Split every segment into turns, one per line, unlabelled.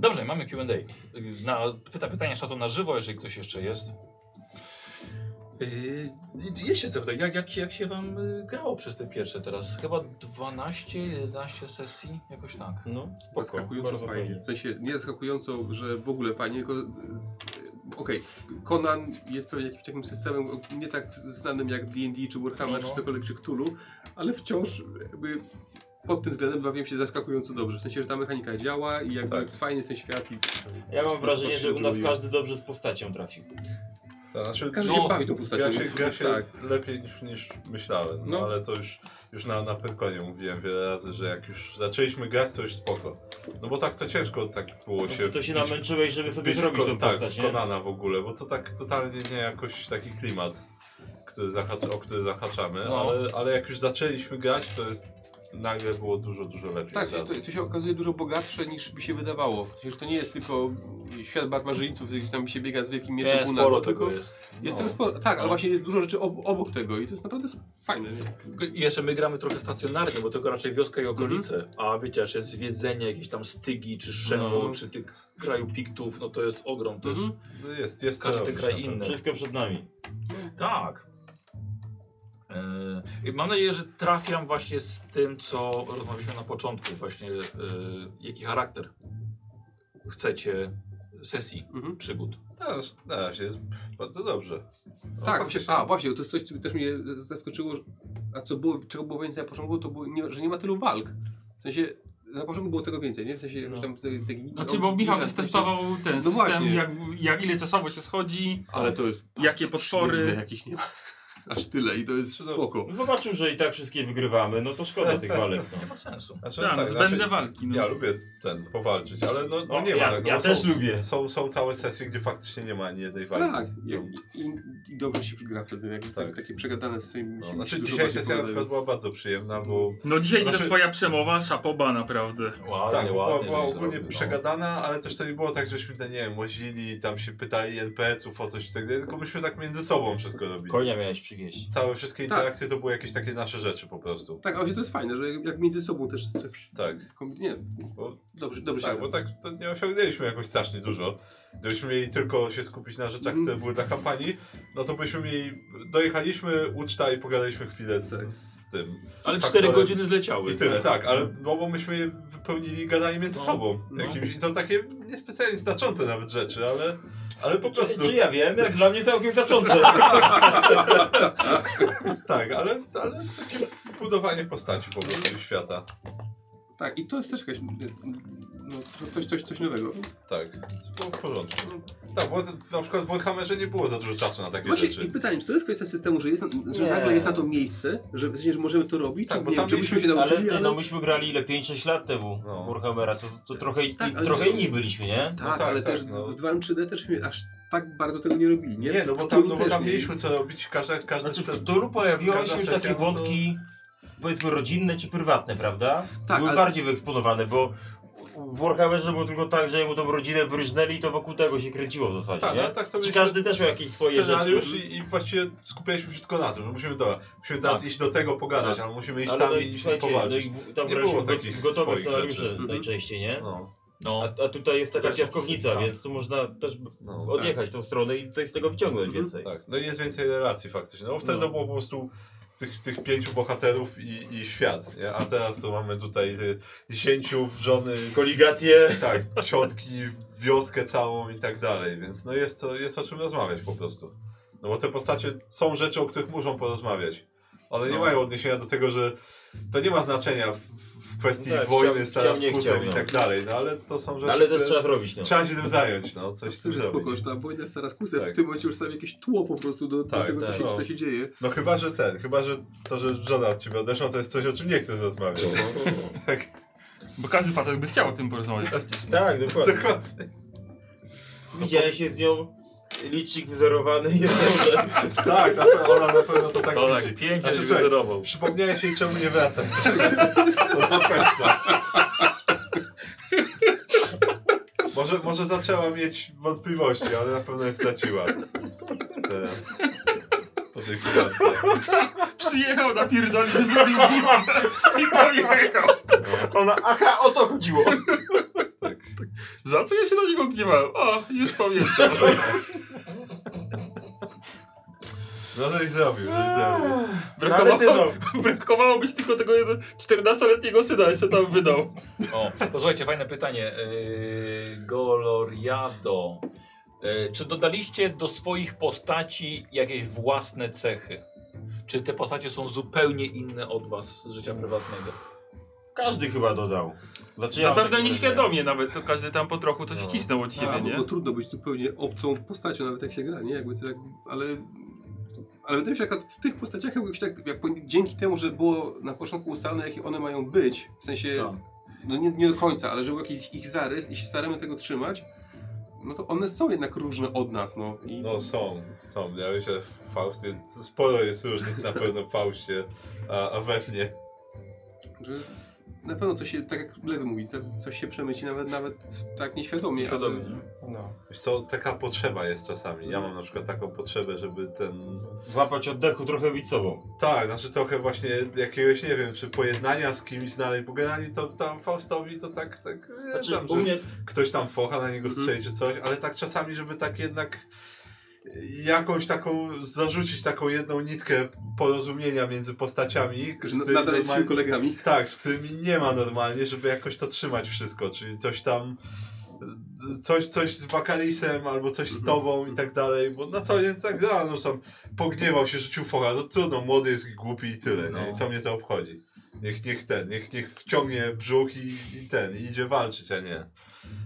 Dobrze, mamy Q&A. Na, pyta, pytania szatą na żywo, jeżeli ktoś jeszcze jest. Yy, jeszcze zapytam, jak, jak, się- jak się wam y, grało przez te pierwsze teraz? Chyba 12, 11 sesji? Jakoś tak.
No, spoko,
Zaskakująco
bardzo
fajnie.
fajnie.
W sensie nie zaskakująco, że w ogóle fajnie, tylko... e, Okej, Conan jest pewnie jakimś takim systemem o, nie tak znanym jak D&D, czy Warhammer,
No, no.
czy cokolwiek, czy Cthulhu, ale wciąż jakby pod tym względem bawiłem się zaskakująco dobrze. W sensie, że ta mechanika działa i jakby
Tak.
fajny jest ten świat i
Ja mam wrażenie, że u nas
Poszczególnie.
każdy dobrze z postacią trafił.
To znaczy,
każdy
No,
się bawi tą postacią.
Ja
więc
się, ja się
tak.
lepiej niż, niż myślałem, no,
No.
ale to już, już na, na Pyrkonie mówiłem wiele razy, że jak już zaczęliśmy grać, to już spoko. No bo tak to ciężko tak było się...
No, to się
wbić-
namęczyłeś, żeby sobie
wbić w
zrobić
Kon-
tą
Tak,
postać,
w
nie?
Konana w ogóle, bo to tak totalnie nie jakoś taki klimat, który zahacz, o który zahaczamy,
No.
ale, ale jak już zaczęliśmy grać, to jest... Nagle było dużo, dużo lepiej.
Tak,
Za-
to, to się okazuje dużo bogatsze niż by się wydawało. W sensie, że to nie jest tylko świat barbarzyńców, gdzie tam się biega z wielkim mieczem pół nago, tylko
jest.
jest
No.
teraz sporo. Tak,
No.
ale właśnie jest dużo rzeczy ob, obok tego i to jest naprawdę sp- fajne. Nie?
I jeszcze my gramy trochę stacjonarnie, bo tylko raczej wioska i okolice.
Mhm.
A wiecie, że zwiedzenie jakieś tam Stygi, czy Szemu,
No.
czy tych kraju Piktów, no to jest ogrom też.
Mhm.
No jest, jest co
Każdy
robić
kraj
na pewno.
inny.
Wszystko przed nami.
Tak. Yy, mam nadzieję, że trafiam właśnie z tym, co rozmawialiśmy na początku, właśnie yy, jaki charakter chcecie sesji
Mhm.
przygód.
Teraz, na razie jest bardzo dobrze. No,
Tak,
faktycznie-
a właśnie, to jest coś, co też mnie z- zaskoczyło, że- a co było, czego było więcej na początku, to było, nie, że nie ma tylu walk. W sensie, na początku było tego więcej, nie? W sensie,
No.
no. tam... Te, te,
Znaczy, bo Michał też testował ten
No
system,
właśnie.
jak, jak ile czasowo się schodzi.
Ale to jest...
Jakie potwory.
Śmierne Jakich nie ma. Aż tyle i to jest spoko.
No, Zobaczył, że i tak wszystkie wygrywamy, no to szkoda tych walek.
Nie
No.
ma sensu.
Znaczy,
Tak,
tak,
zbędne
znaczy,
walki. No.
Ja lubię ten powalczyć, ale no, no
O,
nie ma
ja-
tego.
ja
no,
też
są,
lubię.
Są, są całe sesje, gdzie faktycznie nie ma ani jednej walki.
Tak, i,
Są- no,
i, i dobrze się gra wtedy, jak
Tak.
takie przegadane z tym...
No, znaczy dzisiaj sesja na przykład była bardzo przyjemna, bo
no dzisiaj
Znaczy-
ta twoja przemowa, szapoba naprawdę.
Ładnie,
tak, była,
ładnie.
była
żeś
ogólnie
zrobił, no.
przegadana, ale też to nie było tak, żeśmy, no, nie wiem, łazili, tam się pytali NPC-ów o coś i tak dalej, tylko myśmy tak między sobą wszystko robili.
Konia miałeś przywieźć.
Całe wszystkie
Tak.
interakcje to były jakieś takie nasze rzeczy po prostu.
Tak, ale to jest fajne, że jak- jak między sobą też... Tak.
Tak.
kombi- Nie,
Bo-
dobrze, dobrze
Tak,
się...
bo tak to nie osiągnęliśmy jakoś strasznie dużo. Gdybyśmy mieli tylko się skupić na rzeczach,
Mhm.
które były dla kampanii, no to byśmy mieli. Dojechaliśmy, uczta i pogadaliśmy chwilę z,
Tak.
z tym.
Ale
z
4
aktorem.
godziny zleciały.
Tak, I tyle, tak, ale no, bo myśmy je wypełnili gadanie między
No,
sobą.
no.
Jakimś, I to takie niespecjalnie znaczące nawet rzeczy, ale, ale po prostu.
Czy, czy ja wiem? Jak dla mnie całkiem znaczące.
Tak, ale, ale takie budowanie postaci po prostu i świata.
Tak, i to jest też jakaś... No, coś, coś, coś nowego.
Tak, było w porządku.
No.
Tak, bo na przykład w Warhammerze nie było za dużo czasu na takie
Właśnie,
rzeczy.
i pytanie, czy to jest kwestia systemu, że, jest, że
Nie.
nagle jest na to miejsce, że, w sensie, że możemy to robić,
Tak,
czy,
bo
nie,
tam
wiem, czy byśmy się
mieliśmy-
Ale
nauczyli,
ty,
ale...
no myśmy grali ile? 5-6 lat temu
No.
Warhammera, to, to trochę, i-
Tak, ale
trochę
są-
inni byliśmy, nie?
Tak,
no tak,
ale
tak,
też
no.
w 2 3D też my aż tak bardzo tego nie robili, nie?
Nie, no
W
bo tam,
Cthulhu
no bo
też
tam
nie.
mieliśmy co robić, każda, każda
Znaczy,
scena-
w Toru pojawiły
każda
się już
sesja,
takie
no to-
wątki, powiedzmy, rodzinne czy prywatne, prawda?
Tak,
Były
ale-
bardziej wyeksponowane, bo w Warhammerze było tylko tak, że mu tą rodzinę wyryżnęli i to wokół tego się kręciło w zasadzie,
Tak,
nie?
no, tak to
Czy
mieliśmy
każdy też miał jakieś swoje rzeczy?
scenariusz i, i właściwie skupialiśmy się tylko na tym, że musimy, do, musimy teraz
Tak.
iść do tego pogadać,
Tak.
ale musimy iść
Ale
tam
no
i
i
się
słuchajcie, no
powalczyć.
i w- tam
Nie
graliśmy
było
go-
takich
gotowe
swoich
scenariusze
rzeczy.
Mhm.
najczęściej, nie?
No,
No.
A, a tutaj jest taka
Graliśmy
piaskownica,
tak.
więc tu można też b-
no,
odjechać tą stronę i coś z tego wyciągnąć
Mhm.
więcej.
tak. no i jest więcej relacji faktycznie, no bo wtedy
No.
było po prostu tych, tych pięciu bohaterów i, i świat, nie? a teraz to mamy tutaj y, zięciów, żony,
Koligacje.
tak, ciotki, wioskę całą i tak dalej, więc no jest, to, jest o czym rozmawiać po prostu. No bo te postacie są rzeczy, o których muszą porozmawiać. One nie
No.
mają odniesienia do tego, że to nie ma znaczenia w, w w kwestii
No tak,
wojny
chciał-
z teraz
chciał, nie
kusem
chciał,
i
no.
tak dalej, no ale to są rzeczy,
Ale też
które
trzeba zrobić, no.
trzeba się tym zająć, no, coś z
To
tym
jest
zrobić.
spoko, że ta wojna jest teraz kusem,
Tak.
w tym momencie już stawi jakieś tło po prostu do, do
Tak,
tego, co,
tak,
się,
no.
co się dzieje.
No chyba, że ten, chyba, że to, że żona od ciebie odeszła, to jest coś, o czym nie chcesz rozmawiać. No, tak,
Bo każdy facet by chciał o tym porozmawiać.
Tak, dokładnie.
dokładnie.
Widziałem się z nią, licznik wyzerowany jest dobrze.
tak, na pewno, ona na pewno to tak
To tak,
widzi.
pięknie
Znaczy,
znaczy,
słuchaj,
wyzerował.
Przypomniałeś jej, czemu nie wracam. To na pewno. Może, może zaczęła mieć wątpliwości, ale na pewno je straciła. Teraz. Po tej kurance.
Przyjechał na pierdolce, zrobił gumę i pojechał.
No.
Ona, aha, o to chodziło.
Tak.
Za co ja się na niego gniewałem? A, już pamiętam.
No żeś zrobił, żeś zrobił.
No, ale ty
Brakowało,
no.
brakowałoby tylko tego jeden- 14-letniego syna jeszcze tam wydał.
O, posłuchajcie, fajne pytanie. Yy, Goloriado. Yy, czy dodaliście do swoich postaci jakieś własne cechy? Czy te postacie są zupełnie inne od was z życia prywatnego?
Każdy chyba dodał. Znaczy, ja mam
Zapewne
takie
nieświadomie nawet, to każdy tam po trochu coś
No.
wcisnął od siebie,
A,
nie?
bo, bo trudno być zupełnie obcą postacią, nawet jak się gra, nie? Jakby to tak, ale... Ale wydaje mi się, że akurat w tych postaciach jakoś tak, jak, po- dzięki temu, że było na początku ustalone, jakie one mają być, w sensie,
Tak.
no nie, nie do końca, ale że był jakiś ich zarys i się staramy tego trzymać, no to one są jednak różne od nas, no. I
No są, są. Ja myślę, w Faustie sporo jest różnic na pewno w Faustie, a, a we mnie.
że na pewno coś się, tak jak Lewy mówi, co- coś się przemyci nawet, nawet tak nieświadomie.
Świadomie,
ale...
nie?
No.
Wiesz co, taka potrzeba jest czasami. Ja mam na przykład taką potrzebę, żeby ten...
Złapać oddechu, trochę być sobą.
Tak, znaczy trochę właśnie jakiegoś, nie wiem, czy pojednania z kimś znaleźć, bo generalnie to tam Faustowi to tak, tak, e,
Znaczy,
tam,
u
że-
mnie
ktoś tam focha na niego
Mhm.
strzeli czy coś, ale tak czasami, żeby tak jednak jakąś taką, zarzucić taką jedną nitkę porozumienia między
Znaczy,
postaciami, z
Że
którymi,
nadal jesteśmy
normalnie,
kolegami.
tak, z którymi nie ma normalnie, żeby jakoś to trzymać wszystko, czyli coś tam y, coś, coś z Bakarisem albo coś
Mhm.
z tobą i tak dalej, bo na co dzień tak da, no tam pogniewał się, rzucił focha, no trudno, młody jest głupi i tyle,
No.
nie? I co mnie to obchodzi? Niech, niech ten, niech, niech wciągnie brzuch i, i ten, i idzie walczyć, a nie.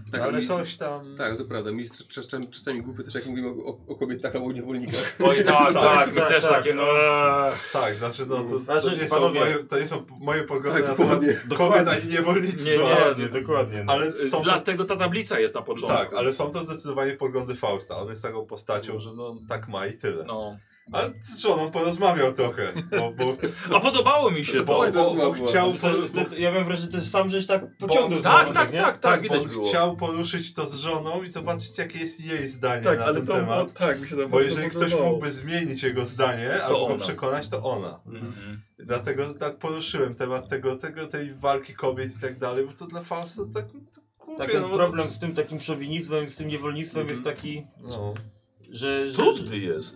No
Tak,
ale
mi-
coś tam.
Tak, to prawda. Mistrz czasem, czasami głupy też jak mówimy o, o, o kobietach albo o niewolnikach.
Oj, tak, tak, my
tak,
też
tak,
takie.
no.
eee.
Tak, znaczy no to,
Znaczy,
to, nie,
panowie-
są moje, to nie są moje poglądy
Tak,
na temat
dokładnie.
kobiet
Dokładnie.
ani niewolnictwa.
Nie, nie.
Dokładnie, dokładnie. No.
Ale są to,
Dlatego ta tablica jest na początku.
tak, ale są to zdecydowanie poglądy Fausta. On jest taką postacią, że no tak ma i tyle.
No.
Ale z żoną porozmawiał trochę, bo, bo,
A podobało mi się to.
bo,
fajna
bo, bo
rozmowa była.
chciał...
To, to, to, ja miałem wrażenie, że ty sam żeś tak pociągnął.
Bo-
to
tak,
może,
tak,
nie?
tak, tak,
Tak,
widać
bo
było.
chciał poruszyć to z żoną i zobaczyć jakie jest jej zdanie
Tak,
na
ale
ten
No,
to było,
temat.
tak, mi się tam
Bo
bardzo
jeżeli ktoś
podobało.
mógłby zmienić jego zdanie albo go
ona.
przekonać, to ona.
Mhm.
Dlatego tak poruszyłem temat tego, tego tej walki kobiet i tak dalej, bo to dla Fausta tak to głupie,
Tak,
no
ten
bo
problem
to-
z tym takim szowinizmem, z tym niewolnictwem jest taki,
No.
że... że
Trudny jest.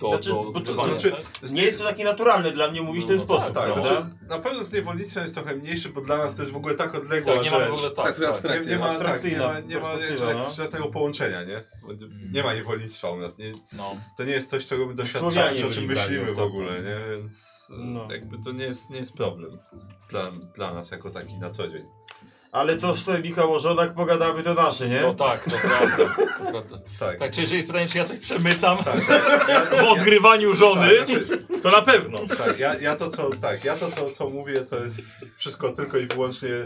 To,
Znaczy,
do
bo to-
odbywania,
znaczy,
tak?
Z
Nie jest to takie naturalne dla mnie mówić w ten
no
sposób,
tak,
prawda?
znaczy, na pewno z niewolnictwem jest trochę mniejszy, bo dla nas to jest w ogóle tak odległa
Tak, nie ma w ogóle
rzecz.
tak.
Tak, to
tak.
Nie, nie ma, tak, nie ma, nie ma
Abstrakcyjna
jakże-
perspektywa, no. Mm.
żadnego połączenia, nie? Bo Nie ma niewolnictwa u nas. Nie,
No.
to nie jest coś, czego my
Słowianie
doświadczamy, czy o czym
byli brani
myślimy w
ostatnio.
ogóle, nie? Więc e,
No.
jakby to nie jest, nie jest problem dla, dla nas jako taki na co dzień.
Ale co z tym Michał o żonach pogadamy, to nasze, nie?
To tak, to prawda. Akurat to-
Tak.
Tak, czy jeżeli jest pytanie, czy ja coś przemycam
tak, tak. Ja-
w odgrywaniu żony,
tak, znaczy,
to na pewno.
Tak, ja, ja to, co, tak, ja to co, co mówię, to jest wszystko tylko i wyłącznie e,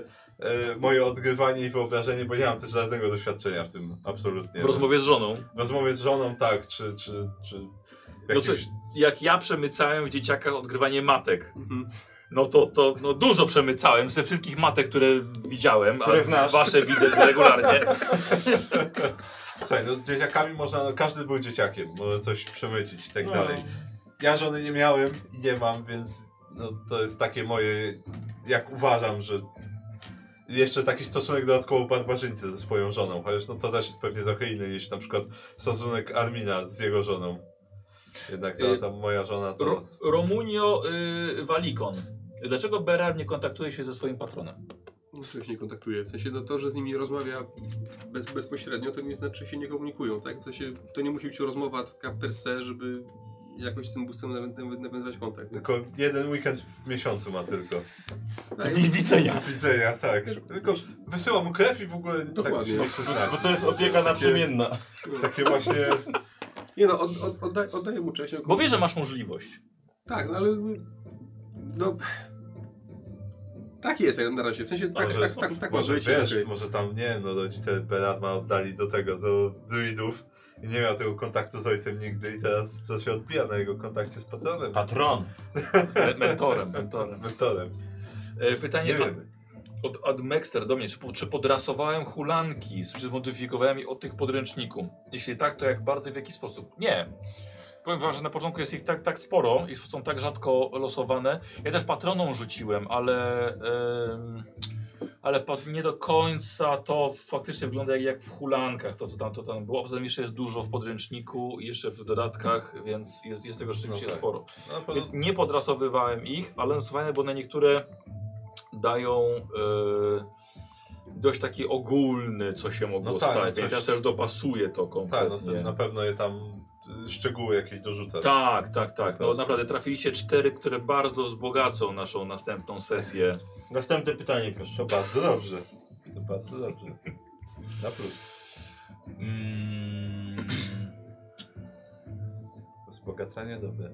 moje odgrywanie i wyobrażenie, bo nie mam też żadnego doświadczenia w tym, absolutnie.
W rozmowie z żoną.
w rozmowie z żoną, tak, czy... czy, czy
No co,
jakimś-
jak ja przemycałem w dzieciakach odgrywanie matek,
Mhm.
no to, to no dużo przemycałem ze wszystkich matek, które widziałem,
Które
a
znasz.
wasze widzę regularnie.
Słuchaj, no z dzieciakami można, no, każdy był dzieciakiem, może coś przemycić i tak
No.
dalej. Ja żony nie miałem i nie mam, więc no, to jest takie moje, jak uważam, że jeszcze taki stosunek dodatkowo barbarzyńcy ze swoją żoną, chociaż no, to też jest pewnie trochę inny niż na przykład stosunek Armina z jego żoną. Jednak ta,
Y,
ta moja żona to...
Ro Romunio y, Walikon. Dlaczego Berar nie kontaktuje się ze swoim patronem?
No, ktoś nie kontaktuje. W sensie no, to, że z nimi rozmawia bez, bezpośrednio, to nie znaczy, że się nie komunikują, tak? W sensie to nie musi być rozmowa taka per se, żeby jakoś z tym bustem nawet, nawet nawiązywać kontakt. Więc-
Tylko jeden weekend w miesiącu ma tylko.
Tak,
Widzenia.
Widzenia, tak. Tylko wysyła mu krew i w ogóle tak
Dokładnie.
się nie chce znać.
Bo to jest opieka naprzemienna.
Takie właśnie...
Nie no, od, od, oddaj, oddaję mu cześć. no,
Bo wie, że masz możliwość.
Tak, no ale jakby- no... Tak jest jak na razie, w sensie tak,
Może-
tak, tak, tak ma
może
być.
wiesz,
jest okej.
może tam, nie wiem, no rodzice Beratma oddali do tego, do druidów i nie miał tego kontaktu z ojcem nigdy i teraz to się odbija na jego kontakcie z patronem,
Patron.
Me- Mentorem,
z
mentorem.
mentorem.
E,
Nie
Pytanie a-
wiemy.
od Admexter do mnie. Czy, po- czy podrasowałem hulanki, czy zmodyfikowałem je od tych podręczników? Jeśli tak, to jak bardzo i w jaki sposób? Nie. Powiem wam, że na początku jest ich tak, tak sporo i są tak rzadko losowane. Ja też patroną rzuciłem, ale em, ale po- nie do końca to faktycznie wygląda jak, jak w hulankach, to co tam, to tam było. Poza tym jeszcze jest dużo w podręczniku, jeszcze w dodatkach, więc jest, jest tego rzeczywiście
No tak.
sporo.
Na
Więc
pewno
nie podrasowywałem ich, ale one są fajne, bo na niektóre dają e, dość taki ogólny, co się mogło
No tak,
stać.
coś-
Więc ja też dopasuję to
tak,
kompletnie.
no, to na pewno je tam y, szczegóły jakieś dorzucasz.
Tak, tak, tak. No
Proszę.
naprawdę trafiliście cztery, które bardzo wzbogacą naszą następną sesję.
Następne pytanie,
To
proszę.
bardzo dobrze. To bardzo dobrze. Na plus.
Mm,
Wzbogacanie doby.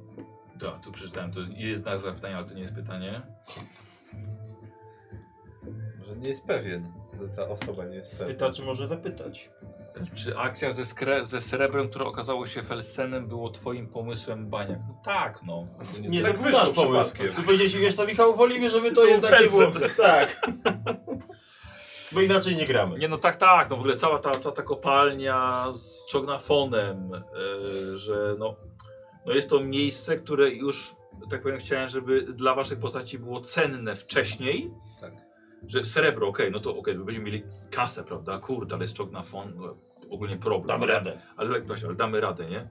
da, tu przeczytałem. To jest znak zapytania, ale to nie jest pytanie.
Może nie jest pewien. Ta- Ta osoba nie jest pewna.
Pyta, czy może zapytać.
Czy akcja ze, skre- ze srebrem, które okazało się Felsenem, było twoim pomysłem baniak? No tak, no.
Nie,
tak
to
wyszło
nasz pomysł.
przypadkiem.
I powiedzieliście, wiesz to Michał, wolimy, żeby to
Tu
jednak nie było.
felsem.
Tak. Bo inaczej nie gramy.
Nie no tak, tak, no w ogóle cała ta, cała ta kopalnia z czognafonem, yy, że no, no jest to miejsce, które już, tak powiem, chciałem, żeby dla waszych postaci było cenne wcześniej.
Tak.
Że srebro, okej, no to okej, będziemy mieli kasę, prawda, kurde, ale jest czognafon, no, ogólnie problem.
Damy radę.
Ale tak właśnie, ale damy radę, nie?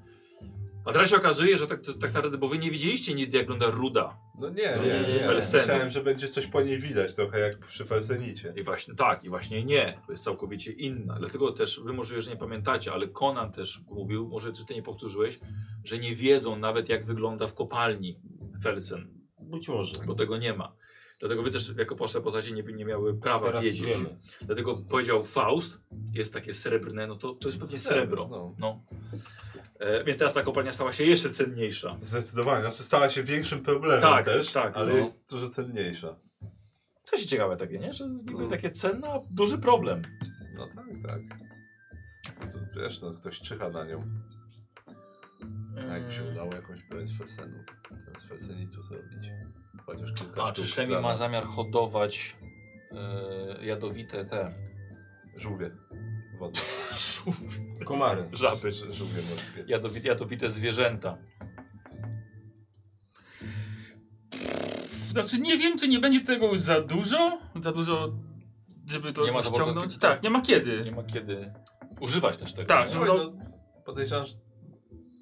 A teraz się okazuje, że tak, tak naprawdę, bo wy nie widzieliście nigdy, jak wygląda ruda.
No nie,
No
nie,
nie, nie,
nie.
Felsen.
Myślałem, że będzie coś po niej widać, trochę jak przy Felsenicie.
I właśnie tak, i właśnie nie. To jest całkowicie inna. Dlatego też wy możliwe, że nie pamiętacie, ale Conan też mówił, może czy ty nie powtórzyłeś, że nie wiedzą nawet jak wygląda w kopalni Felsen,
Być może.
bo tego nie ma. Dlatego wy też jako poszle postaci nie, nie miały prawa
Teraz
wiedzieć.
wiemy.
Dlatego powiedział Faust, jest takie srebrne, no to, to jest pewnie srebro.
No.
No. E, więc teraz ta kopalnia stała się jeszcze cenniejsza.
Zdecydowanie. Znaczy stała się większym problemem
Tak,
też,
tak,
ale
no.
jest dużo cenniejsza.
To się ciekawe takie, nie? Że niby takie cenne, a duży problem.
No tak, tak. To, wiesz, no ktoś czyha na nią. A jakby Tak
Mm.
się udało jakąś broń z Felsenu, ten z Felsenitu zrobić. Chociaż kilka
A
sztuk
czy Szemi
dla
ma
nas.
zamiar hodować y, jadowite te
Żółwie. Wodne.
Komary.
żaby?
Ż- Żółwie morskie.
Jadowite, jadowite zwierzęta.
Znaczy nie wiem, czy nie będzie tego za dużo, za dużo, żeby to
Nie ma za bardzo
ściągnąć.
kiedy.
Tak, nie ma kiedy.
Nie ma kiedy używać też tego.
Tak,
nie?
Słuchaj, no, podejrzewam, że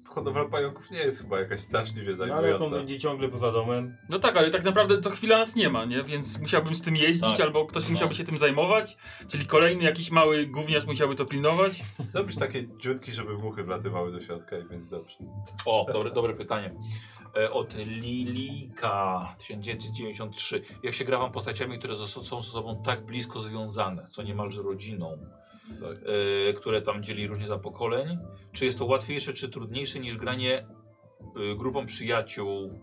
hodowla pająków nie jest chyba jakaś straszliwie
No, ale jak on
zajmująca.
będzie ciągle poza domem.
No tak, ale tak naprawdę to chwila nas nie ma, nie? Więc musiałbym z tym jeździć,
Tak.
albo ktoś
No.
musiałby się tym zajmować, czyli kolejny jakiś mały gówniarz musiałby to pilnować.
Zrobić takie dziurki, żeby muchy wlatywały do środka i będzie dobrze.
O, dobre, dobre pytanie. E, Od Lilika 1993. Jak się gra wam postaciami, które zas- są ze sobą tak blisko związane, co niemalże rodziną,
Tak.
e, które tam dzieli różnie za pokoleń? Czy jest to łatwiejsze, czy trudniejsze niż granie y, grupą przyjaciół,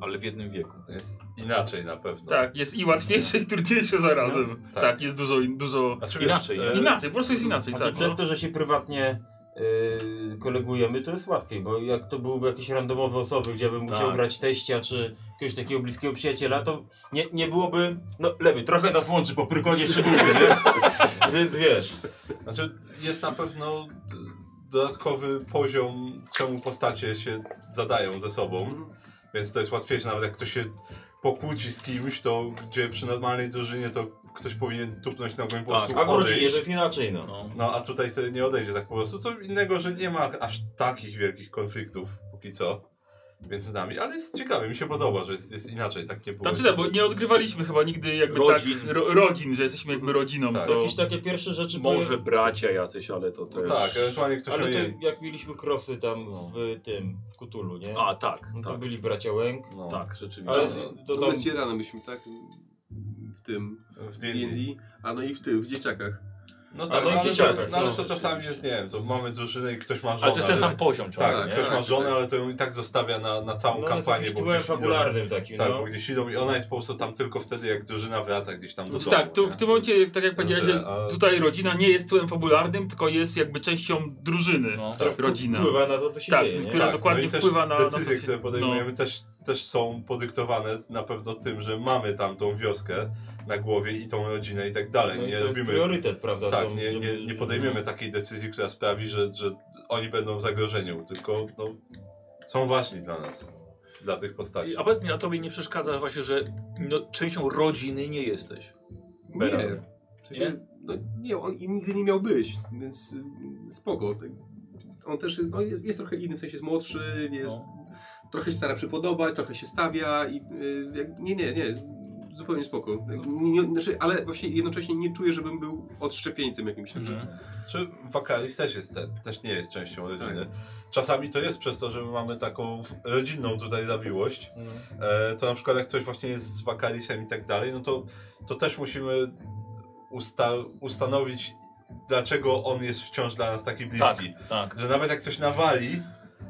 ale w jednym wieku?
Jest inaczej na pewno.
Tak, jest i łatwiejsze, i trudniejsze zarazem.
tak.
tak. jest dużo, dużo...
Znaczy,
Inaczej.
e,
Inaczej, po prostu jest inaczej,
A to
tak.
znaczy przez to, że się prywatnie yy, kolegujemy, to jest łatwiej, bo jak to byłyby jakieś randomowe osoby, gdzie bym musiał
Tak.
brać teścia czy jakiegoś takiego bliskiego przyjaciela, to nie, nie byłoby... No lewy, trochę nas łączy po prykonie szybuły, nie? Więc wiesz.
Znaczy, jest na pewno d- dodatkowy poziom, czemu postacie się zadają ze sobą, więc to jest łatwiejsze. Nawet jak ktoś się pokłóci z kimś, to gdzie przy normalnej drużynie to ktoś powinien tupnąć nogą i po
Tak,
prostu
A w rodzinie to
odejść.
jest inaczej, no.
No.
No a tutaj sobie nie odejdzie tak po prostu. Co innego, że nie ma aż takich wielkich konfliktów póki co między nami, ale jest ciekawe, mi się podoba, że jest, jest inaczej, tak nie było.
Znaczy tak, bo nie odgrywaliśmy chyba nigdy jakby
Rodzin.
tak ro, rodzin, że jesteśmy jakby rodziną,
Tak.
to...
Jakieś takie pierwsze rzeczy...
Może bracia jacyś, ale to też...
Tak, ewentualnie ktoś
Ale
powinien-
to jak mieliśmy krosy tam w tym, w Kutulu, nie?
No. A, tak,
no to
tak,
byli bracia Łęk.
no,
tak, rzeczywiście.
Ale
No,
to
to
tam-
my z Cieranem byliśmy, tak? W tym,
w
w
D&D.
D&D, a no i w tym, w dzieciakach.
No
tak,
tak,
no i
ale,
dzieciaki,
to, no,
no.
ale to czasami jest, nie wiem, to mamy drużynę i ktoś ma żonę.
Ale to jest ten sam poziom ciągle,
Tak,
nie?
ktoś ma
Tak,
żonę,
tak.
ale to ją i tak zostawia na, na całą
No,
kampanię.
bo byłem
gdzieś idą-
fabularnym takim,
Tak,
no.
bo gdzieś idą i ona jest po prostu tam tylko wtedy, jak drużyna wraca gdzieś tam do
Znaczy
domu.
tak, tu,
nie?
w tym momencie, tak jak powiedziałeś, że
a-
tutaj rodzina nie jest tłem fabularnym, tylko jest jakby częścią drużyny.
No.
która
rodzina.
Wpływa na to, co się
Tak,
dzieje, nie? No
która- dokładnie
no i też
wpływa na- na
Decyzje,
to, no. co-
które podejmujemy, też, też są podyktowane na pewno tym, że mamy tam tą wioskę na głowie i tą rodzinę i tak dalej.
No i
nie
to jest
robimy.
priorytet, prawda?
Tak,
tą-
nie, nie,
żeby-
nie podejmiemy takiej decyzji, która sprawi, że, że oni będą w zagrożeniu, tylko no, są ważni dla nas, dla tych postaci.
I- A powiedz mi, a tobie nie przeszkadza właśnie, że no, częścią rodziny nie jesteś?
Nie, W sensie, no, nie, on i nigdy nie miał być, więc y, spoko. Tak. On też jest, no, jest, jest trochę inny, w sensie jest młodszy, jest, trochę się stara przypodobać, trochę się stawia i y, jak, nie, nie, nie. Zupełnie spoko. Jak- Nie, nie, znaczy, ale właśnie jednocześnie nie czuję, żebym był odszczepieńcem jakimś.
Mhm.
Czy wakalis też jest ten, też nie jest częścią
Tak.
rodziny. Czasami to jest przez to, że my mamy taką rodzinną tutaj zawiłość.
Mhm.
E, to na przykład jak coś właśnie jest z wakalisem i tak dalej, no to, to też musimy usta ustanowić, dlaczego on jest wciąż dla nas taki
Tak,
bliski.
tak.
Że nawet jak coś nawali,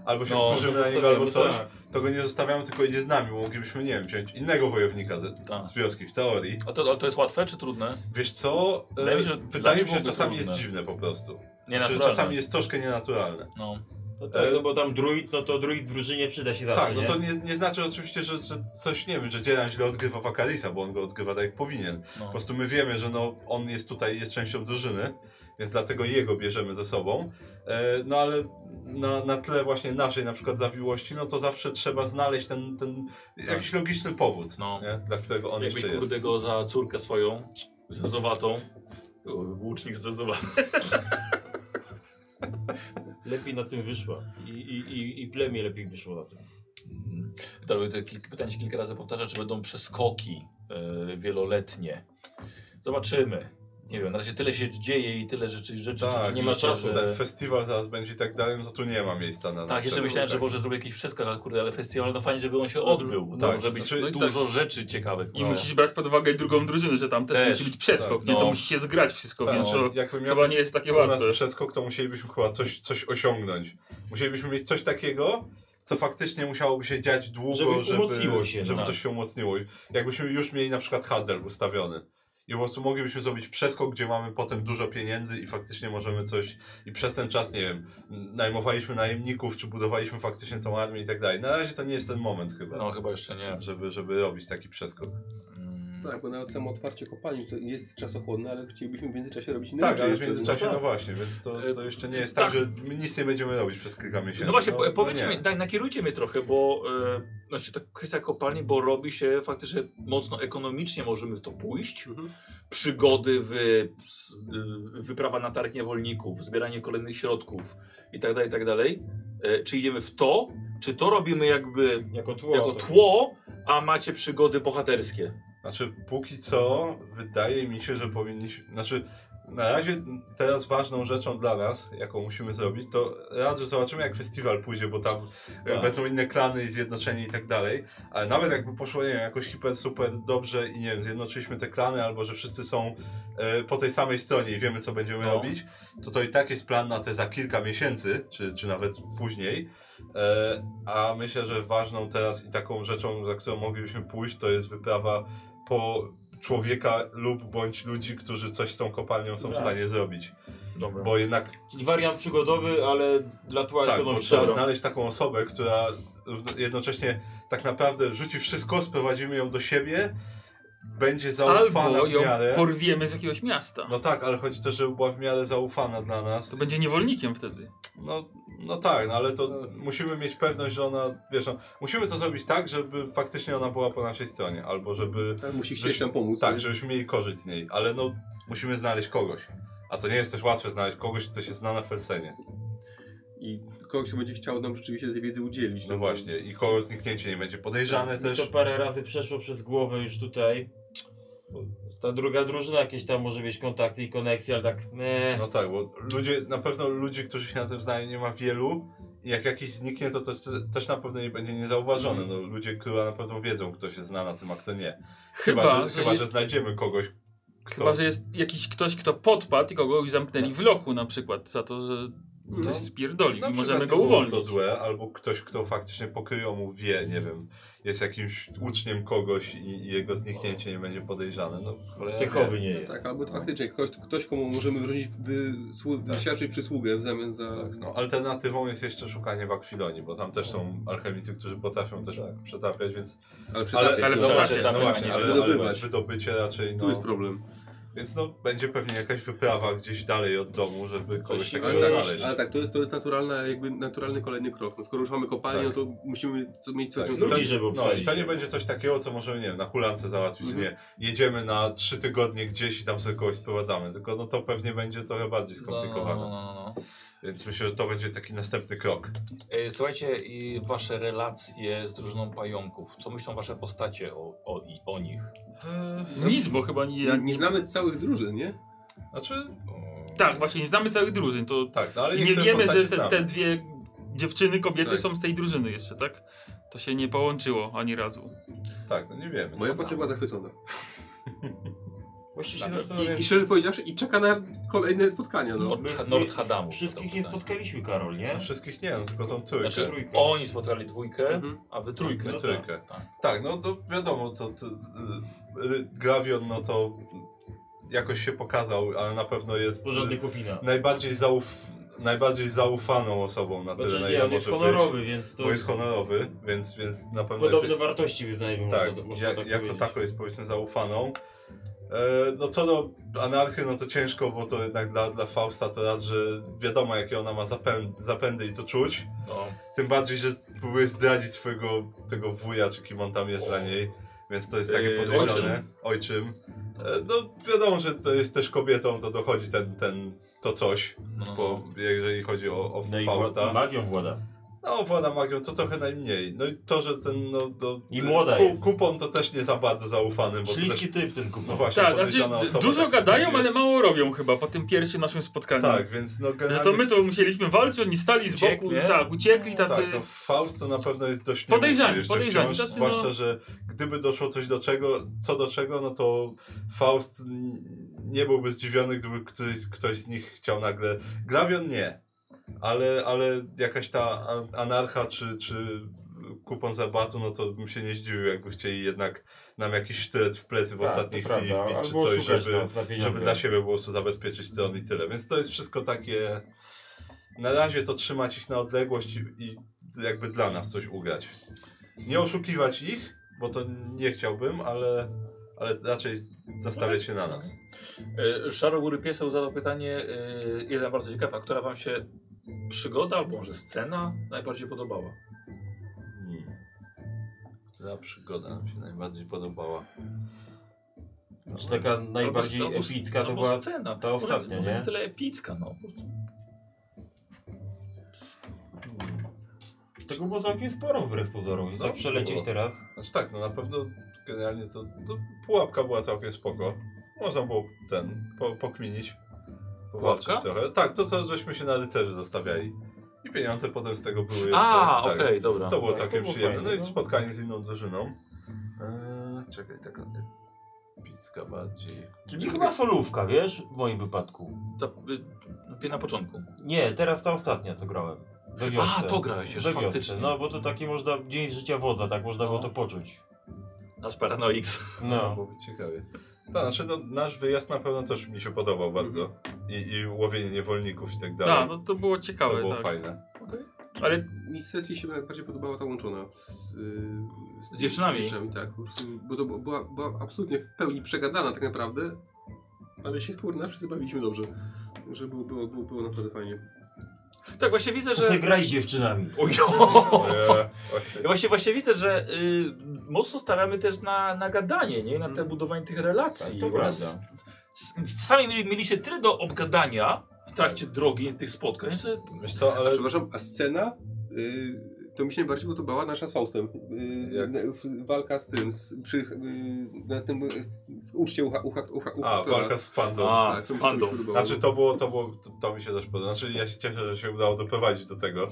albo się
No, tak.
wkurzymy
to
na niego, albo coś,
zostawiamy,
tak.
to go nie zostawiamy, tylko idzie z nami, bo moglibyśmy, nie wiem, wziąć innego wojownika
Tak.
z, z wioski, w teorii.
A to, ale to jest łatwe czy trudne?
Wiesz co,
Wydaje
e,
mi się, że dla
wydaje mi
nich
się, że
byłoby
czasami
trudne.
jest dziwne po prostu.
Nie
Że Znaczy, czasami jest troszkę nienaturalne.
No.
No tak, no bo tam druid, no to druid w drużynie przyda się zawsze,
tak, no
nie?
to nie, nie znaczy oczywiście, że, że coś, nie wiem, że dzielan źle odgrywa Wakarisa, bo on go odgrywa tak jak powinien.
No.
Po prostu my wiemy, że no, on jest tutaj, jest częścią drużyny, więc dlatego jego bierzemy ze sobą. E, no ale na, na tle właśnie naszej na przykład zawiłości, no to zawsze trzeba znaleźć ten, ten jakiś logiczny powód,
Tak. No.
nie? dla którego on
Jakbyś
jeszcze
kurde
jest.
go za córkę swoją, zezowatą. O, Łucznik zezowatą.
Lepiej na tym wyszła. I, i, i, I plemię lepiej wyszło na tym.
Dobra, to kil- Pytanie się kilka razy powtarza, czy będą przeskoki e, wieloletnie. Zobaczymy. Nie wiem, na razie tyle się dzieje i tyle rzeczy, rzeczy
Tak,
rzeczywiście,
nie ma czasu.
że-
Ten festiwal zaraz będzie i tak dalej, no to tu nie ma miejsca na
Tak, jeszcze
na-
myślałem, że
tak.
może zrobię jakiś przeskok, ale kurde, ale festiwal, no fajnie, żeby on się odbył. bo Tam
Tak,
może być no
znaczy-
dużo rzeczy ciekawych.
I
No.
musisz brać pod uwagę i drugą drużynę, że tam też,
Też,
musi być przeskok,
tak,
nie? To
no.
musi się zgrać wszystko,
Tak,
więc to
jakby miał
chyba nie jest takie
u nas
łatwe.
przeskok, to musielibyśmy chyba coś, coś osiągnąć. Musielibyśmy mieć coś takiego, co faktycznie musiałoby się dziać długo,
Żeby
żeby,
umocniło się,
żeby
tak.
coś się umocniło. I Jakbyśmy już mieli na przykład handel ustawiony. I po prostu moglibyśmy zrobić przeskok, gdzie mamy potem dużo pieniędzy i faktycznie możemy coś. I przez ten czas, nie wiem, najmowaliśmy najemników, czy budowaliśmy faktycznie tą armię i tak dalej. Na razie to nie jest ten moment chyba,
No chyba jeszcze nie.
żeby, żeby robić taki przeskok.
Mm.
Tak, bo nawet samo otwarcie kopalni to jest czasochłonne, ale chcielibyśmy w międzyczasie robić inne
Tak,
rzeczy
ale w
jeszcze, no.
międzyczasie,
Tak.
no właśnie, więc to, to jeszcze nie jest tak,
Tak.
że my nic nie będziemy robić przez kilka miesięcy.
No właśnie, po- powiedz
nie.
mi, tak, nakierujcie mnie trochę, bo e, znaczy, ta kwestia kopalni, bo robi się faktycznie mocno ekonomicznie możemy w to pójść.
Mhm.
Przygody, wy, s- y, wyprawa na targ niewolników, zbieranie kolejnych środków i tak dalej, i tak dalej. E, czy idziemy w to, czy to robimy jakby
Jako tło.
jako tło, a macie przygody bohaterskie?
Znaczy, póki co wydaje mi się, że powinniśmy. Znaczy, na razie teraz ważną rzeczą dla nas, jaką musimy zrobić, to raz, że zobaczymy, jak festiwal pójdzie, bo tam e,
Tak.
będą inne klany i zjednoczenie i tak dalej. Ale nawet jakby poszło, nie wiem, jakoś hiper, super dobrze i nie wiem, zjednoczyliśmy te klany, albo że wszyscy są e, po tej samej stronie i wiemy, co będziemy
No.
robić, to to i tak jest plan na te za kilka miesięcy, czy, czy nawet później. E, a myślę, że ważną teraz i taką rzeczą, za którą moglibyśmy pójść, to jest wyprawa po człowieka lub bądź ludzi, którzy coś z tą kopalnią są w
Tak.
stanie zrobić.
Dobra.
Bo jednak
Czyli wariant przygodowy, ale no. dla tła
tak, bo trzeba
ekonomicznego.
znaleźć taką osobę, która równo- jednocześnie tak naprawdę rzuci wszystko, sprowadzimy ją do siebie, będzie zaufana
Albo
w
ją
miarę.
porwiemy z jakiegoś miasta.
No tak, ale chodzi też, żeby była w miarę zaufana dla
To
nas.
będzie niewolnikiem wtedy.
No, no tak, no ale to musimy mieć pewność, że ona, wiesz, no, musimy to zrobić tak, żeby faktycznie ona była po naszej stronie, albo żeby,
Tak, musi
Żebyś-
chcieć nam pomóc.
tak,
nie?
żebyśmy mieli korzyść z niej, ale no, musimy znaleźć kogoś. A to nie jest też łatwe znaleźć kogoś, kto się zna na Felsenie.
I kogoś kto będzie chciał nam rzeczywiście tej wiedzy udzielić.
No właśnie, i kogo zniknięcie nie będzie podejrzane też.
No Tak, To parę razy przeszło przez głowę już tutaj. Ta druga drużyna jakieś tam może mieć kontakty i koneksje, ale tak meh.
No tak, bo ludzie, na pewno ludzi, którzy się na tym znają, nie ma wielu. I jak jakiś zniknie, to też, też na pewno nie będzie niezauważony. No, ludzie króla na pewno wiedzą, kto się zna na tym, a kto nie. Chyba, że, chyba
jest,
że znajdziemy kogoś, kto...
chyba, że jest jakiś ktoś, kto podpadł i kogoś zamknęli w lochu na przykład za to, że coś
No.
spierdolił
na
i
przykład
możemy
nie
go
było
uwolnić.
to złe, albo ktoś, kto faktycznie pokryjomu wie, nie wiem, jest jakimś uczniem kogoś i, i jego zniknięcie nie będzie podejrzane. No, cholera wie.
cechowy nie jest.
Tak, albo to faktycznie ktoś, ktoś komu możemy wrócić wysłu-
Tak.
wyświadczyć przysługę w zamian za...
Tak, no, alternatywą jest jeszcze szukanie w Akwilonii, bo tam też są alchemicy, którzy potrafią też
Tak.
przetapiać, więc
Ale,
Ale,
przytrafiać,
ale
no.
no
przetapiać,
właśnie,
tak,
no właśnie,
nie
ale,
wydobywać.
ale wydobycie raczej, no,
Tu jest problem.
Więc no, będzie pewnie jakaś wyprawa gdzieś dalej od domu, żeby kogoś
siłą
takiego
tak,
znaleźć.
Ale tak, to jest, to jest naturalna, jakby naturalny kolejny krok. No, skoro już mamy kopalnię,
Tak.
no to musimy co, mieć co
Tak,
z nią
no,
zrobić.
Ludzi, żeby
No i
obsadzić.
to nie będzie coś takiego, co możemy, nie wiem, na hulance załatwić,
Mhm.
nie. Jedziemy na trzy tygodnie gdzieś i tam sobie kogoś sprowadzamy, tylko no to pewnie będzie trochę bardziej skomplikowane.
No, no, no, no, no.
Więc myślę, że to będzie taki następny krok.
E, Słuchajcie, i wasze relacje z drużyną pająków. Co myślą wasze postacie o, o, i- o nich? Yy,
Nic, bo chyba nie...
Nie, nie znamy całych drużyn, nie?
Znaczy,
E,
Tak, właśnie, nie znamy całych drużyn, to
tak, no ale
nie
niektóre
wiemy,
postacie
że te,
znamy.
te dwie dziewczyny, kobiety
Tak.
są z tej drużyny jeszcze, tak? To się nie połączyło ani razu.
Tak, no nie wiemy.
Moja postać była zachwycona.
Właśnie się
I,
zastanawiam.
I szczerze powiedziawszy, i czeka na kolejne spotkania, no.
Od-
My- my
Nord Hadamu
Wszystkich
zadał
nie
pytanie.
spotkaliśmy, Karol, nie?
No wszystkich nie, no tylko tą trójkę.
Znaczy,
Trójkę.
oni spotkali dwójkę,
Mhm.
a wy trójkę.
No
tak.
trójkę.
Tak.
Tak, no to wiadomo, to, to y, y, Glavion, no to jakoś się pokazał, ale na pewno jest
Porządny
y,
kupina.
najbardziej, zauf, najbardziej zaufaną osobą na tyle,
Znaczy
na
nie,
ile
on jest
może
honorowy,
być.
więc to
Bo jest honorowy, więc, więc na pewno jest...
podobne wartości wyznajemy.
Tak,
można, można
jak,
tak
jak to
powiedzieć.
tako jest powiedzmy zaufaną. E, no co do anarchy, no to ciężko, bo to jednak dla, dla Fausta to raz, że wiadomo jakie ona ma zapę, zapędy i to czuć.
No.
Tym bardziej, że próbuje zdradzić swojego tego wuja, czy kim on tam jest dla niej. Więc to jest takie
Yy,
podejrzane. Ojczym. E, no wiadomo, że to jest też kobietą, to dochodzi ten, ten to coś,
No.
bo jeżeli chodzi o, o
No i
Fausta.
wła- magią włada.
No, woda magią to trochę najmniej. No i to, że ten, no, do,
I młoda jest.
kupon to też nie za bardzo zaufany, bo to
Śliski
też,
typ ten
no
kupon.
właśnie,
Tak, znaczy
podejrzana osoba,
dużo
tak,
gadają,
więc-
ale mało robią chyba po tym pierwszym naszym spotkaniu.
Tak, więc no
Że
generalnie...
to my to musieliśmy walczyć, oni stali z boku,
Uciekli, nie?
tak, uciekli tacy...
Tak, no, Faust to na pewno jest dość
Podejrzani,
nieuczciwy jeszcze
podejrzani,
wciąż,
tacy, no-
zwłaszcza, że gdyby doszło coś do czego, co do czego, no to Faust n- nie byłby zdziwiony, gdyby ktoś, ktoś z nich chciał nagle... Glavion nie, ale, ale jakaś ta an- anarcha czy, czy kupon zabatu, no to bym się nie zdziwił, jakby chcieli jednak nam jakiś sztylet w plecy w
Tak,
ostatniej
to
chwili
prawda,
wbić czy
albo
coś,
szukać
żeby,
nas na pieniądze.
żeby dla siebie po prostu zabezpieczyć tron i tyle. Więc to jest wszystko takie... Na razie to trzymać ich na odległość i, i jakby dla nas coś ugrać. Nie oszukiwać ich, bo to nie chciałbym, ale, ale raczej nastawiać się na nas.
E, Szarogóry Pieseł zadał pytanie, e, jeden bardzo ciekawy, a która wam się przygoda albo może scena najbardziej podobała?
Hmm. Która przygoda nam się najbardziej podobała?
Czy Znaczy, taka najbardziej
Albo- albo-
epicka to
albo
była...
scena.
ta ostatnia,
może, może
nie?
tyle epicka, no. po prostu.
Tego było całkiem sporo wbrew pozorom. I
No,
tak przelecieć
było.
teraz.
Znaczy tak, no na pewno generalnie to, to pułapka była całkiem spoko. Można było ten, po, pokminić. powalczyć
Pułapka?
trochę. Tak, to co żeśmy się na rycerzy zostawiali. I pieniądze potem z tego były jeszcze.
A,
tak.
okej, dobra.
To było
Tak, to
całkiem
było
przyjemne.
fajne,
No i
no.
spotkanie z inną drużyną. Eee, czekaj, taka epicka bardziej.
Czyli chyba solówka, wiesz? W moim wypadku.
To, y, na początku.
Nie, teraz ta ostatnia, co grałem. We wiosce.
A, to grałeś
We
jeszcze,
wiosce.
faktycznie.
No, bo to taki można... Dzień życia wodza, tak można było
No.
to poczuć.
Na Sparanoix.
No.
No.
Byłoby ciekawie. Tak, znaczy no, nasz wyjazd na pewno też mi się podobał bardzo. I, i łowienie niewolników i tak dalej.
Tak, no to było
to
ciekawe,
było
tak.
fajne.
Ale
Mi z sesji się najbardziej podobała ta łączona. Z, y,
Z dziewczynami?
tak. Po prostu, bo to była, była absolutnie w pełni przegadana tak naprawdę. Ale się kurna, wszyscy bawiliśmy dobrze. Że było, było, było, było naprawdę fajnie.
Tak, właśnie widzę,
To
że...
se graj z dziewczynami.
Ojo!
Eee,
Ja Właśnie, właśnie widzę, że y, mocno stawiamy też na, na gadanie, nie? Na te budowanie tych relacji.
Tak, to
Bo z,
prawda.
z, z sami mieli- mieliście tyle do obgadania w trakcie drogi tych spotkań, że
Wiesz co,
A
Znaczy,
ale
przepraszam, a scena? Y, to mi się najbardziej podobała nasza z Faustem. Y,
Jak?
na- w- walka z tym, z, przy, y, na tym y, w uczcie ucha, ucha, ucha, ucha
A, walka z pandą.
A,
tak, to mi się, to mi
pandą.
się podobało.
Znaczy to było, to było, to, to mi się też podoba. Znaczy ja się cieszę, że się udało doprowadzić do tego,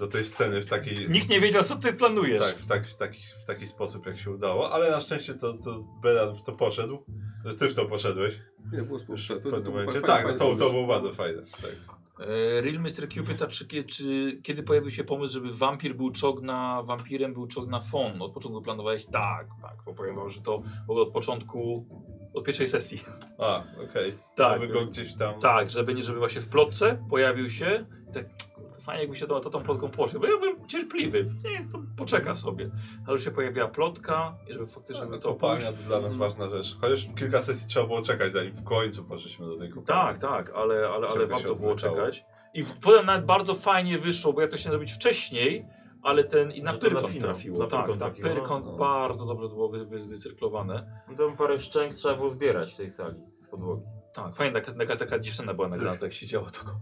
do tej sceny w taki,
nikt nie wiedział, co ty planujesz.
tak, w, tak, w, taki, w taki sposób jak się udało, ale na szczęście to, to Beran w to poszedł, że ty w to poszedłeś
Nie, było spoko.
już
To,
w
to, to, był
pewnym
fa-
momencie.
fa-
Tak,
fajny
to, to
pomysł.
było bardzo fajne. Tak.
E, Real Mr. Q pyta, czy, kie- czy kiedy pojawił się pomysł, żeby wampir był czogna, wampirem był czogna Fon? Od początku planowałeś tak, tak, bo powiem wam, że to było od początku, od pierwszej sesji.
A, okej.
Tak,
Aby go gdzieś tam...
tak, żeby nie, żeby właśnie w plotce pojawił się i tak, kurde, Fajnie jakby się to, to tą plotką poszło, bo ja byłem cierpliwy, nie, to poczeka sobie. Ale że się pojawiła plotka, i żeby faktycznie
No,
to
kopalnia to dla nas ważna rzecz. Chociaż kilka sesji trzeba było czekać, zanim w końcu poszliśmy do tej kopalni.
Tak, tak, ale, ale, ale
Czego
warto
się
było
odwlekało?
czekać. I w- potem nawet bardzo fajnie wyszło, bo ja to chciałem zrobić wcześniej, ale ten i na
Że to na
Pyrkon
finał,
trafiło.
na
tak,
Pyrkon
na
trafiło,
Pyrkon
no.
bardzo dobrze to było wy, wy, wycyrklowane.
Tam parę szczęk trzeba było zbierać w tej sali z podłogi.
Tak, fajna taka, taka, taka dziewczyna była
Tak.
nagrana, tak jak siedziała tylko.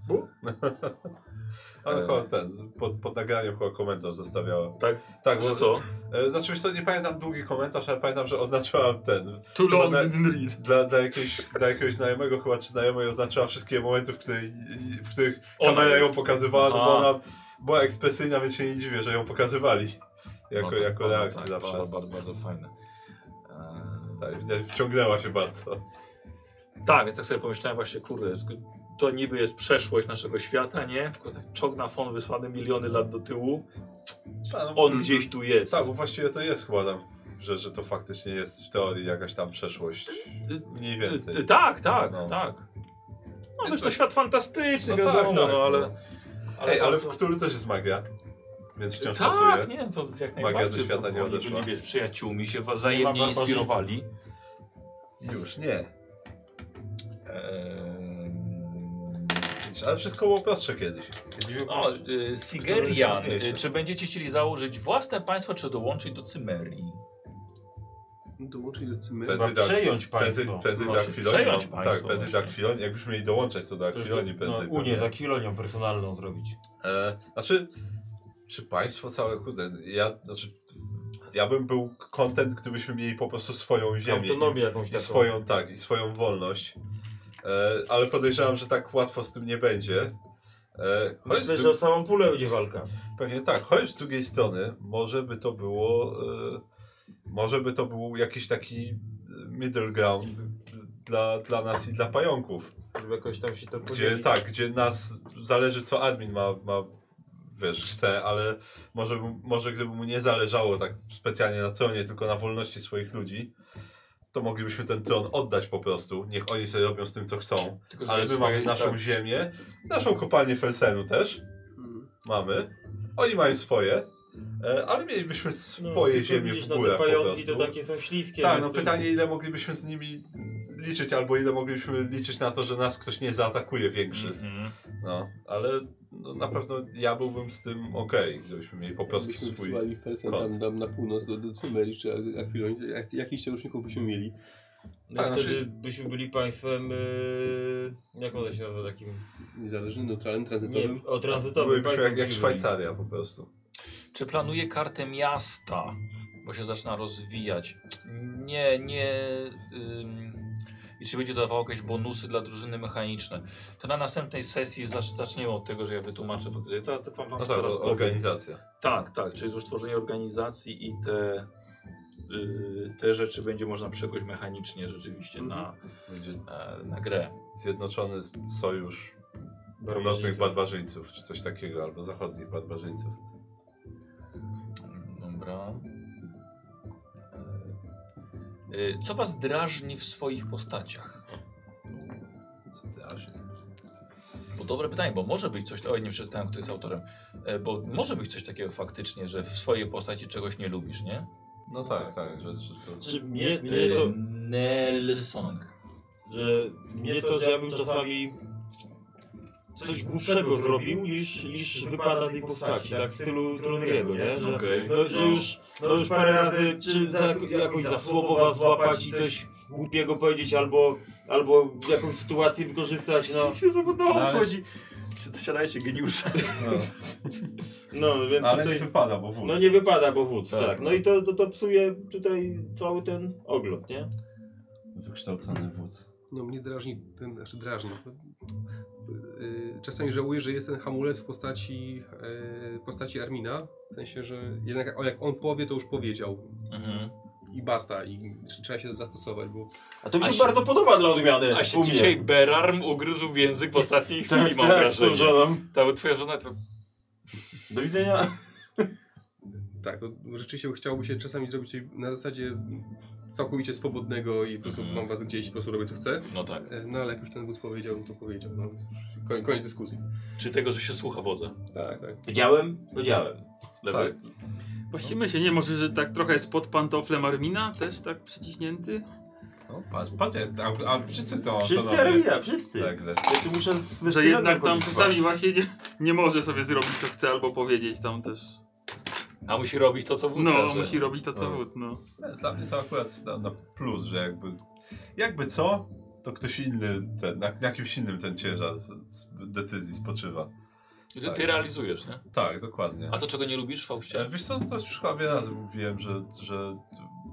Ale
E.
chyba ten, pod, pod nagraniem chyba komentarz zostawiała.
Tak?
Tak,
Że
bo,
co?
e, znaczy wiesz co, nie pamiętam długi komentarz, ale pamiętam, że oznaczyła ten,
Too long
Dobra.
didn't read.
dla, dla, jakiejś, dla jakiegoś znajomego chyba, czy znajomej oznaczyła wszystkie momenty, w, której, w których
Ona
kamera ją
jest.
pokazywała, no
A.
bo ona była ekspresyjna, więc się nie dziwię, że ją pokazywali. Jako,
tak,
jako
ona
reakcję
tak,
zawsze.
Bardzo, bardzo, bardzo fajne. Eee,
Tak, widać, wciągnęła się bardzo.
Tak, więc tak sobie pomyślałem właśnie, kurde, sk- to niby jest przeszłość naszego świata, nie? Tylko tak Czołg na fon wysłany miliony lat do tyłu,
A, no,
on gdzieś tu jest.
Tak, bo właściwie to jest chyba tam, że, że to faktycznie jest w teorii jakaś tam przeszłość. Mniej więcej.
Y, y, Tak, tak,
No.
tak. No wiesz, to
Coś-
świat fantastyczny,
No
wiadomo,
tak, tak,
no ale...
no. Ej, ale w Cthulhu też jest magia, więc wciąż
Tak,
pasuje.
nie, to jak
ze
najbardziej. to
świata nie
oni
odeszła.
Byli, wiesz, przyjaciółmi się wzajemnie
wartości.
inspirowali.
Już, nie.
Eee...
Widzisz, Ale wszystko było prostsze kiedyś.
O, y, Sigerian,
Który
y, czy będziecie chcieli założyć własne państwo, czy dołączyć do Cymerii?
Dołączyć do cymy.
Prędzej do
przejąć
Prędzej,
państwo.
prędzej do
Właśnie,
Akwilonii.
przejąć
no,
państwo
Tak, prędzej do
właśnie.
Akwilonii. Jakbyśmy mieli dołączać, to do Akwilonii prędzej.
no, Unię
pewnie.
z akwilonią personalną zrobić.
E, znaczy, czy państwo całe, kurde, ja, znaczy, ja bym był content, gdybyśmy mieli po prostu swoją ziemię.
Autonomię jakąś
I
taką.
swoją, tak, i swoją wolność. E, ale podejrzewam, że tak łatwo z tym nie będzie. E, choć z
No, Myślę,
dru-
że o samą pulę będzie walka.
Pewnie tak, choć z drugiej strony może by to było, e, może by to był jakiś taki e, middle ground d- dla, dla nas i dla pająków.
Żeby jakoś tam się to
Gdzie
podzielić.
tak, gdzie nas zależy co admin ma, ma wiesz, chce, ale może, mu- może gdyby mu nie zależało tak specjalnie na tronie, tylko na wolności swoich ludzi, to moglibyśmy ten tron oddać po prostu. Niech oni sobie robią z tym co chcą.
Tylko,
Ale my mamy naszą
tak.
ziemię, naszą kopalnię Felsenu też mamy. Oni mają swoje, e, ale mielibyśmy
No,
swoje
tylko
ziemie
widzisz,
w
no, te
górach po
pająki
prostu.
to takie są śliskie.
Tak,
więc
no
to-
pytanie ile moglibyśmy z nimi liczyć, albo ile moglibyśmy liczyć na to, że nas ktoś nie zaatakuje większy.
Mhm.
No, ale no, na pewno ja byłbym z tym okej, gdybyśmy mieli po prostu
Byśmy
swój...
wysyłali Felsen tam,
kod.
tam na północ do, do Cymerii czy Akwilonii, jak, jakichś sojuszników byśmy mieli.
No
tak,
wtedy
znaczy-
byśmy byli państwem, yy, jak ono się nazywa takim,
Niezależnym, neutralnym, tranzytowym.
nie, o tranzytowym
Byłybyśmy
państwem.
jak, jak
byśmy
Szwajcaria po prostu. No
Czy planuje kartę miasta, bo się zaczyna rozwijać? Nie, nie. Ym, I czy będzie to dawało jakieś bonusy dla drużyny mechaniczne? To na następnej sesji zacz- zaczniemy od tego, że ja wytłumaczę. faktycznie. To, to wam wam
No tak,
zaraz
bo
powiem.
organizacja.
Tak, tak, czyli już tworzenie organizacji i te, y, te rzeczy będzie można przekuć mechanicznie rzeczywiście na,
Mhm. Będzie
e, na grę.
Zjednoczony Sojusz
byli.
Północnych Barbarzyńców, czy coś takiego, albo Zachodnich Barbarzyńców.
Dobra. Y, Co was drażni w swoich postaciach?
Co ty, aż nie.
Bo dobre pytanie, bo może być coś, oj nie przeczytałem, kto jest autorem, E, bo może być coś takiego faktycznie, że w swojej postaci czegoś nie lubisz, nie?
No tak, tak, że, że to...
Czy Znaczy, mnie, mnie
E,
to,
Nelson.
że, mnie to, że ja bym czasami coś głupszego zrobił niż, niż wypada tej postaci, tak w stylu Troniego, nie? Że,
Okej.
no, że już, no już parę razy, czy za, jakoś za słowo was złapać i coś głupiego powiedzieć, albo, albo jakąś sytuację wykorzystać, no.
Się zabudowało,
Ale-
wchodzi. Siadajcie, geniusze.
No, więc
Ale
tutaj...
nie wypada, bo wóz.
No nie wypada, bo wódz,
Tak.
tak. No i to, to, to psuje tutaj cały ten ogląd, nie?
Wykształcony wódz.
No mnie drażni, ten, znaczy drażni. Yy, Czasami żałuję, że jest ten hamulec w postaci, yy, postaci Armina. W sensie, że jednak o, jak on powie, to już powiedział.
Mhm.
I basta, i trzeba się zastosować, bo
A to mi się,
A się-
bardzo podoba dla odmiany.
A się
u mnie.
dzisiaj Berarm ugryzł w język w ostatniej chwili,
tak,
mam
tak, z tą
wrażenie.
żoną.
Ta bo twoja żona to...
Do widzenia.
tak, to rzeczywiście chciałoby się czasami zrobić coś na zasadzie całkowicie swobodnego i po prostu
Mhm.
mam was gdzieś, po prostu robię co chcę.
No tak.
E, No ale jak już ten wódz powiedział, no to powiedział. No, już koń, koniec dyskusji.
Czy tego, że się słucha wodza?
Tak, tak.
Wiedziałem? Wiedziałem. Tak.
Lewy?
Właściwie się nie może, że tak trochę jest pod pantoflem Armina, też tak przyciśnięty.
No, patrz, patrz, jest, a, a wszyscy chcą
Wszyscy
autonomię.
Armina, wszyscy.
Tak, tak.
Ja tu muszę z- ze
Że
sztyletem
jednak tam
chodzić,
czasami
patrz.
właśnie nie, nie może sobie zrobić co chce albo powiedzieć tam też.
A musi robić to, co wódz
No,
każe.
musi robić to co wód, no.
E, Dla mnie to akurat na, na plus, że jakby, jakby co, to ktoś inny, ten, na, na kimś innym ten ciężar z- z decyzji spoczywa.
Ty, ty realizujesz, nie?
Tak, dokładnie.
A to, czego nie lubisz,
E,
Faustie?
Wiesz co, to już chyba wiele razy mówiłem, że, że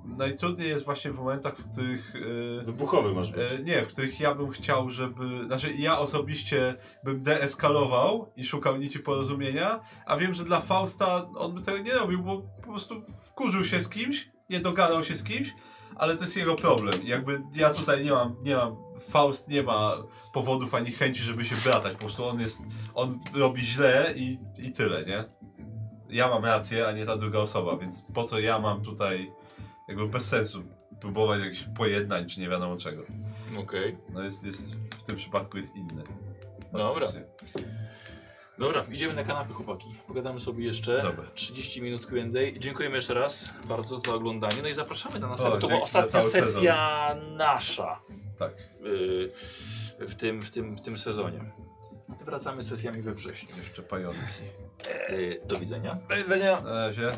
najtrudniej jest właśnie w momentach, w których... e,
Wybuchowy masz być.
E, nie, w których ja bym chciał, żeby. Znaczy, ja osobiście bym deeskalował i szukał nici porozumienia, a wiem, że dla Fausta on by tego nie robił, bo po prostu wkurzył się z kimś, nie dogadał się z kimś, ale to jest jego problem. Jakby ja tutaj nie mam, nie mam. Faust nie ma powodów ani chęci, żeby się bratać. Po prostu on jest. On robi źle i, i tyle, nie? Ja mam rację, a nie ta druga osoba, więc po co ja mam tutaj. Jakby bez sensu próbować jakichś pojednań czy nie wiadomo czego.
E,
Okej.
No jest, jest, w tym przypadku jest inny.
Dobra.
Faktycznie.
Dobra, idziemy na kanapę, chłopaki. Pogadamy sobie jeszcze.
Dobra.
30 minut Q&A. Dziękujemy jeszcze raz bardzo za oglądanie. No i zapraszamy na następną.
O,
to była
dzięki za
ostatnia
cały sezon.
sesja nasza
Tak.
yy, w, tym, w, tym, w tym sezonie. Wracamy z sesjami we wrześniu. Y,
Jeszcze pająki.
Yy, do widzenia.
Na razie.